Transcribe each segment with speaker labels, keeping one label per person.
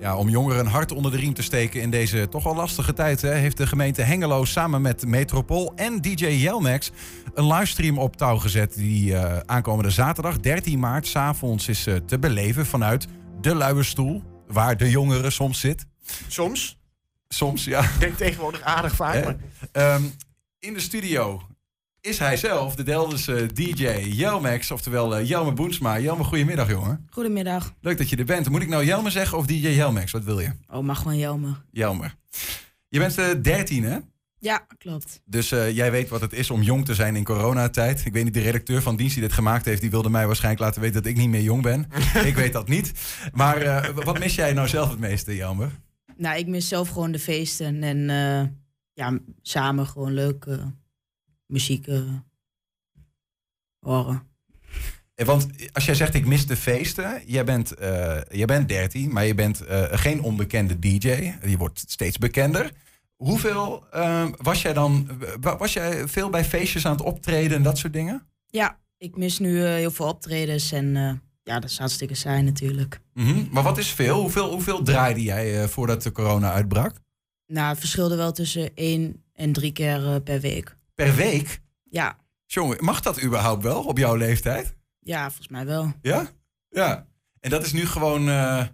Speaker 1: Ja, om jongeren een hart onder de riem te steken in deze toch al lastige tijd... Hè, heeft de gemeente Hengelo samen met Metropool en DJ Jelmax... een livestream op touw gezet die eh, aankomende zaterdag 13 maart... s'avonds is eh, te beleven vanuit de luie stoel, waar de jongeren soms zit.
Speaker 2: Soms.
Speaker 1: Soms, ja.
Speaker 2: Ik denk tegenwoordig aardig vaak.
Speaker 1: Hè?
Speaker 2: maar-
Speaker 1: Ehm, in de studio is hij zelf, de Delderse DJ Jelmax... oftewel eh, Jelme Boensma. Jelme, goedemiddag, jongen.
Speaker 3: Goedemiddag.
Speaker 1: Leuk dat je er bent. Moet ik nou Jelme zeggen of DJ Jelmax? Wat wil je?
Speaker 3: Oh, mag gewoon Jelme.
Speaker 1: Jelmer. Je bent eh 13, hè?
Speaker 3: Ja, klopt.
Speaker 1: Dus eh, jij weet wat het is om jong te zijn in coronatijd. Ik weet niet, de redacteur van dienst die dit gemaakt heeft... die wilde mij waarschijnlijk laten weten dat ik niet meer jong ben. ik weet dat niet. Maar eh, w- wat mis jij nou zelf het meeste, Jelmer?
Speaker 3: Nou, ik mis zelf gewoon de feesten en eh, ja, m- samen gewoon leuke muziek eh, horen.
Speaker 1: Eh, Want als jij zegt ik mis de feesten... jij bent, eh, jij bent 13, maar je bent eh, geen onbekende DJ. Je wordt steeds bekender. Hoeveel eh, was jij dan... wa- was jij veel bij feestjes aan het optreden en dat soort dingen?
Speaker 3: Ja, ik mis nu eh, heel veel optredens en eh, ja, dat is hartstikke saai natuurlijk.
Speaker 1: Mhm, Maar wat is veel? Hoeveel, hoeveel draaide jij eh, voordat de corona uitbrak?
Speaker 3: Nou, het verschilde wel tussen één en drie keer eh, per week.
Speaker 1: Per week?
Speaker 3: Ja,
Speaker 1: Jongen, mag dat überhaupt wel op jouw leeftijd?
Speaker 3: ja, volgens mij wel.
Speaker 1: Ja? Ja. En dat is nu gewoon... eh,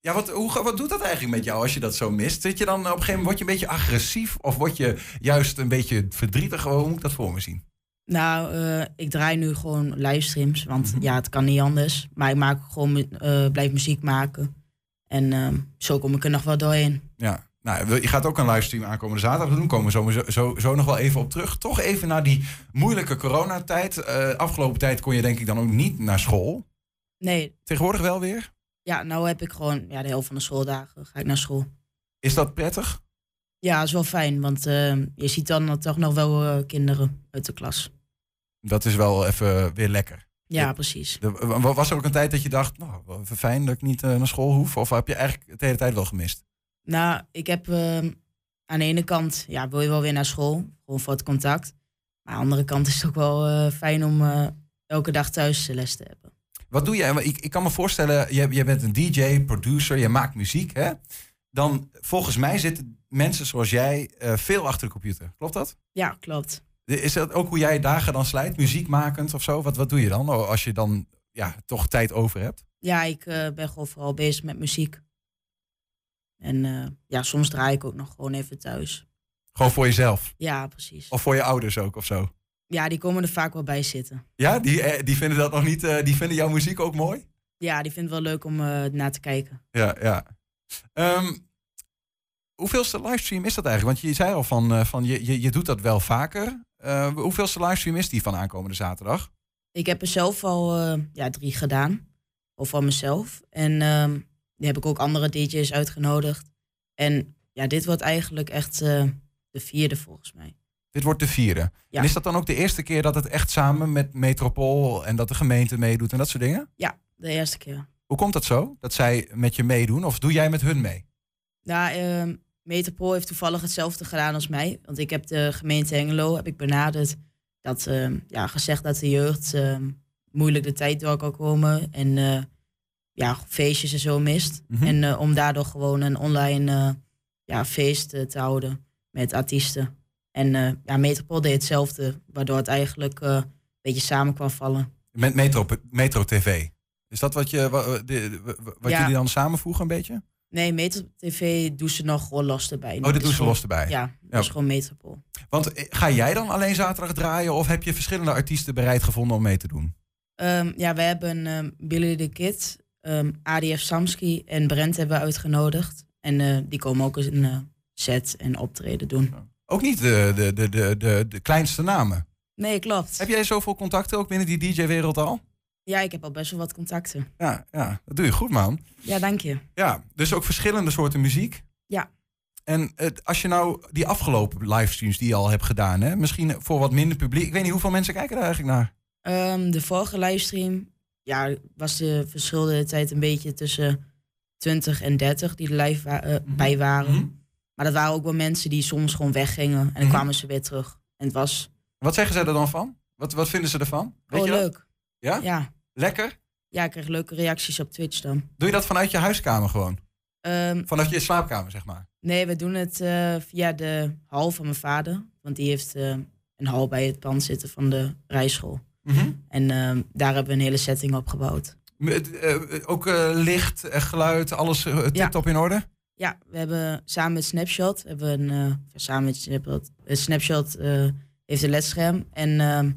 Speaker 1: Ja, wat, hoe, ga- wat doet dat eigenlijk met jou als je dat zo mist? Zit je dan op een gegeven moment, word je een beetje agressief? Of word je juist een beetje verdrietig? Hoe moet ik dat voor me zien?
Speaker 3: Nou, eh, ik draai nu gewoon livestreams, want ja, het kan niet anders. Maar ik maak gewoon, mu- eh, blijf muziek maken. En ehm, zo kom ik er nog wel doorheen.
Speaker 1: Ja. Nou, wil- je gaat ook een livestream aankomende zaterdag doen. Komen we zo, zo, zo nog wel even op terug. Toch even naar die moeilijke coronatijd. Eh, afgelopen tijd kon je denk ik dan ook niet naar school.
Speaker 3: Nee,
Speaker 1: Tegenwoordig wel weer?
Speaker 3: ja, nou heb ik gewoon ja, de helft van de schooldagen ga ik naar school.
Speaker 1: Is dat prettig?
Speaker 3: Ja, is wel fijn, want ehm, je ziet dan toch nog wel eh, kinderen uit de klas.
Speaker 1: Dat is wel even weer lekker.
Speaker 3: Ja,
Speaker 1: Ja.
Speaker 3: precies.
Speaker 1: De- wa- wa- was er ook een tijd dat je dacht, nou, wat even fijn dat ik niet eh, naar school hoef? Of heb je eigenlijk de hele tijd wel gemist?
Speaker 3: Nou, ik heb ehm, aan de ene kant, ja, wil je wel weer naar school, gewoon voor het contact. Maar aan de andere kant is het ook wel eh, fijn om eh, elke dag thuis eh, les te hebben.
Speaker 1: Wat doe jij? Want Ik, ik kan me voorstellen, jij, jij bent een DJ, producer, je maakt muziek, hè? Dan, volgens mij zitten mensen zoals jij eh, veel achter de computer. Klopt dat?
Speaker 3: Ja, klopt.
Speaker 1: Is dat ook hoe jij dagen dan slijt? Muziekmakend of zo? Wat, wat doe je dan oh, als je dan ja, toch tijd over hebt?
Speaker 3: Ja, ik eh, ben gewoon vooral bezig met muziek. En eh, ja, soms draai ik ook nog gewoon even thuis.
Speaker 1: Gewoon voor jezelf.
Speaker 3: Ja, precies.
Speaker 1: Of voor je ouders ook of zo.
Speaker 3: Ja, die komen er vaak wel bij zitten.
Speaker 1: Ja, die, eh, die vinden dat nog niet. eh, die vinden jouw muziek ook mooi?
Speaker 3: Ja, die vindt het wel leuk om eh naar te kijken.
Speaker 1: Ja, ja. Ehm, hoeveelste livestream is dat eigenlijk? Want je zei al van, eh, van je, je, je doet dat wel vaker. Eh, hoeveelste livestream is die van aankomende zaterdag?
Speaker 3: Ik heb er zelf al eh, ja, drie gedaan. Of van mezelf. En ehm, die heb ik ook andere DJ's uitgenodigd. En ja, dit wordt eigenlijk echt eh, de vierde volgens mij.
Speaker 1: Dit wordt de vierde.
Speaker 3: Ja.
Speaker 1: En is dat dan ook de eerste keer dat het echt samen met Metropool en dat de gemeente meedoet en dat soort dingen?
Speaker 3: De eerste keer.
Speaker 1: Hoe komt dat zo? Dat zij met je meedoen of doe jij met hun mee?
Speaker 3: Nou, ehm Metropool heeft toevallig hetzelfde gedaan als mij. Want ik heb de gemeente Hengelo heb ik benaderd. Dat ehm, ja, gezegd dat de jeugd ehm, moeilijk de tijd door kan komen. En eh, ja, feestjes en zo mist.
Speaker 1: Mhm.
Speaker 3: En eh, om daardoor gewoon een online eh, ja, feest eh, te houden met artiesten. En eh, ja, Metropool deed hetzelfde. Waardoor het eigenlijk eh, een beetje samen kwam vallen.
Speaker 1: Met Metro, Metro TV. Is dat wat, je, wa- wa- de- wa- wa- wat
Speaker 3: Ja.
Speaker 1: jullie dan samenvoegen een beetje?
Speaker 3: Nee, Metro TV doet ze nog gewoon los erbij.
Speaker 1: Oh, dit
Speaker 3: is
Speaker 1: doen ze
Speaker 3: gewoon-
Speaker 1: los erbij.
Speaker 3: Ja, dat is gewoon Metropool.
Speaker 1: Want eh, ga jij dan alleen zaterdag draaien of heb je verschillende artiesten bereid gevonden om mee te doen?
Speaker 3: Ehm, ja, we hebben ehm, Billy the Kid, ehm, ADF Samski en Brent hebben we uitgenodigd. En eh, die komen ook eens een eh, set en optreden doen.
Speaker 1: Ook niet de, de, de, de, de, de kleinste namen.
Speaker 3: Nee, klopt.
Speaker 1: Heb jij zoveel contacten ook binnen die DJ-wereld al?
Speaker 3: Ja, ik heb al best wel wat contacten.
Speaker 1: Ja, ja, dat doe je goed, man.
Speaker 3: Ja, dank je.
Speaker 1: Ja, dus ook verschillende soorten muziek.
Speaker 3: Ja.
Speaker 1: En eh, als je nou die afgelopen livestreams die je al hebt gedaan, hè, misschien voor wat minder publiek. Ik weet niet hoeveel mensen kijken daar eigenlijk naar.
Speaker 3: Ehm, de vorige livestream ja, was de verschillende tijd een beetje tussen 20 en 30 die er live wa- eh,
Speaker 1: Mhm.
Speaker 3: bij waren. Maar dat waren ook wel mensen die soms gewoon weggingen en dan
Speaker 1: Mhm.
Speaker 3: kwamen ze weer terug. En het was
Speaker 1: Wat zeggen ze er dan van? Wat, wat vinden ze ervan? Weet
Speaker 3: oh,
Speaker 1: je dat?
Speaker 3: leuk.
Speaker 1: Ja?
Speaker 3: Ja.
Speaker 1: Lekker?
Speaker 3: ja, ik kreeg leuke reacties op Twitch dan.
Speaker 1: Doe je dat vanuit je huiskamer gewoon?
Speaker 3: Ehm,
Speaker 1: Vanuit je slaapkamer, zeg maar.
Speaker 3: nee, we doen het eh, via de hal van mijn vader. Want die heeft eh, een hal bij het pand zitten van de rijschool.
Speaker 1: Mhm.
Speaker 3: En ehm, daar hebben we een hele setting op gebouwd.
Speaker 1: Met, eh, ook eh, licht, eh, geluid, alles eh, tip-top in orde?
Speaker 3: Ja, we hebben samen met Snapshot, hebben we een, eh, of samen met Snapshot, eh, Snapshot eh, heeft een ledscherm. En ehm,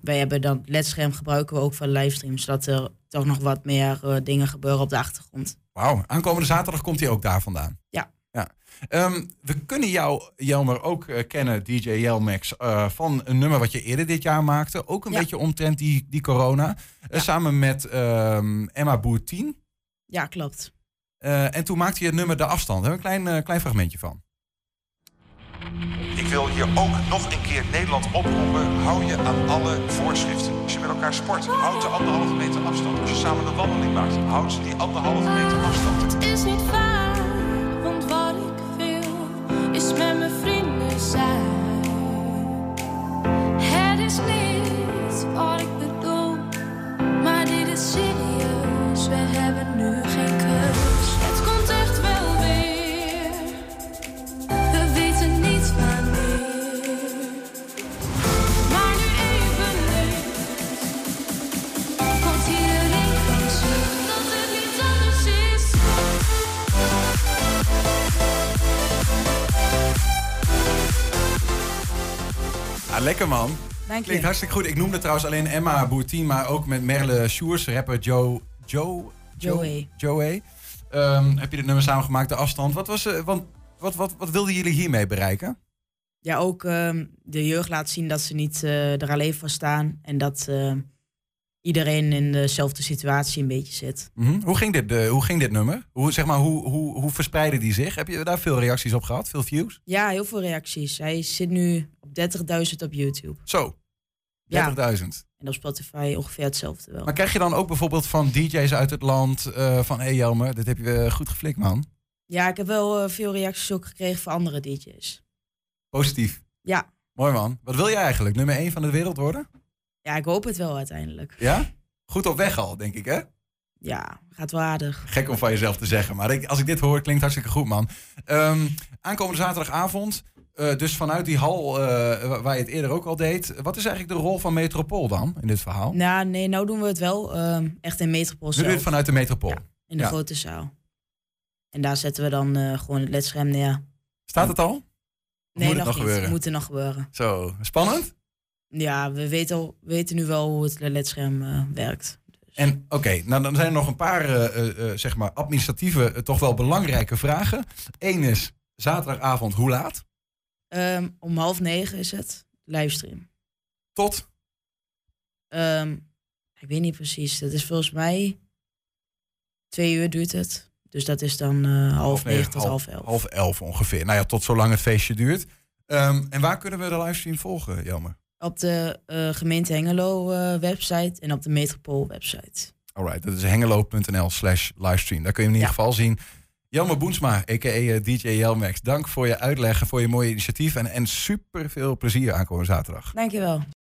Speaker 3: wij hebben dan het ledscherm gebruiken we ook voor livestreams, zodat er toch nog wat meer eh, dingen gebeuren op de achtergrond.
Speaker 1: Wauw, aankomende zaterdag komt hij ook daar vandaan.
Speaker 3: Ja.
Speaker 1: ja. Ehm, we kunnen jou, Jelmer, ook eh, kennen, DJ Jelmax, eh, van een nummer wat je eerder dit jaar maakte. Ook een
Speaker 3: Ja.
Speaker 1: beetje omtrent die, die corona. Eh, Samen met ehm, Emma Boertien.
Speaker 3: Ja, klopt.
Speaker 1: Eh, en toen maakte je het nummer De Afstand. Daar hebben we een klein, eh, klein fragmentje van.
Speaker 4: Ik wil hier ook nog een keer Nederland oproepen. Hou je aan alle voorschriften. Als je met elkaar sport, houd de anderhalve meter afstand. Als je samen een wandeling maakt, houd die anderhalve meter afstand.
Speaker 5: Het is niet waar, want wat ik wil is met mijn vrienden zijn. Het is niet wat ik bedoel, maar dit is serieus. We hebben nu geen keus. Het komt echt wel weer. We weten niet wanneer. Maar nu even niet. Want iedereen kan zien dat het niet anders is.
Speaker 1: Ah, lekker man.
Speaker 3: Dank
Speaker 1: Klinkt
Speaker 3: je.
Speaker 1: hartstikke goed. Ik noemde trouwens alleen Emma Boertien, maar ook met Merle Sjoers, rapper Joe... Joe?
Speaker 3: Joey.
Speaker 1: Joey. Ehm, heb je dit nummer samengemaakt, De Afstand. Wat, was, eh, want, wat, wat, wat wilden jullie hiermee bereiken?
Speaker 3: Ja, ook ehm, de jeugd laat zien dat ze niet eh, er alleen voor staan. En dat ehm, iedereen in dezelfde situatie een beetje zit.
Speaker 1: Mhm. hoe, ging dit, eh, hoe ging dit nummer? Hoe, zeg maar, hoe, hoe, hoe verspreidde die zich? Heb je daar veel reacties op gehad? Veel views?
Speaker 3: Ja, heel veel reacties. Hij zit nu op 30.000 op YouTube.
Speaker 1: Zo, 30.000.
Speaker 3: Ja. En op Spotify ongeveer hetzelfde wel.
Speaker 1: Maar krijg je dan ook bijvoorbeeld van DJ's uit het land eh, van... Hé hey Jelmer, dit heb je eh, goed geflikt man.
Speaker 3: Ja, ik heb wel eh, veel reacties ook gekregen van andere DJ's.
Speaker 1: Positief.
Speaker 3: Ja.
Speaker 1: Mooi man. Wat wil je eigenlijk? Nummer 1 van de wereld worden?
Speaker 3: Ja, ik hoop het wel uiteindelijk.
Speaker 1: Ja? Goed op weg al, denk ik hè?
Speaker 3: Ja, gaat wel aardig.
Speaker 1: Gek om van jezelf te zeggen, maar ik- als ik dit hoor, klinkt hartstikke goed, man. Ehm, aankomende zaterdagavond, eh, dus vanuit die hal eh, wa- waar je het eerder ook al deed. Wat is eigenlijk de rol van Metropool dan in dit verhaal? Nu
Speaker 3: Nou, nee, nou doen we het wel ehm, echt in Metropool
Speaker 1: doe je het
Speaker 3: zelf,
Speaker 1: vanuit de Metropool.
Speaker 3: in de
Speaker 1: ja.
Speaker 3: grote zaal. En daar zetten we dan eh, gewoon het ledscherm neer.
Speaker 1: Staat het al?
Speaker 3: Nee,
Speaker 1: moet het
Speaker 3: nog,
Speaker 1: nog
Speaker 3: niet.
Speaker 1: gebeuren?
Speaker 3: Moet er nog gebeuren.
Speaker 1: Zo, spannend.
Speaker 3: Ja, we weten, al, weten nu wel hoe het ledscherm eh, werkt.
Speaker 1: En oké, nou dan zijn er nog een paar eh, eh, eh, zeg maar administratieve, eh, toch wel belangrijke vragen. Eén is, zaterdagavond hoe laat?
Speaker 3: Ehm, om half negen is het, livestream.
Speaker 1: Tot?
Speaker 3: Ehm, ik weet niet precies, dat is volgens mij twee uur duurt het. Dus dat is dan eh, half negen tot half elf.
Speaker 1: Half elf ongeveer. Nou ja, tot zolang het feestje duurt. Ehm, en waar kunnen we de livestream volgen, Jelmer?
Speaker 3: Op de eh, gemeente Hengelo eh, website en op de Metropool website.
Speaker 1: Alright, dat is hengelo.nl slash livestream. Daar kun je hem in ieder geval zien. Jelmer Boensma, a.k.a. DJ Jelmax. Dank voor je uitleg en voor je mooie initiatief. En, en super veel plezier aankomende zaterdag.
Speaker 3: Dankjewel.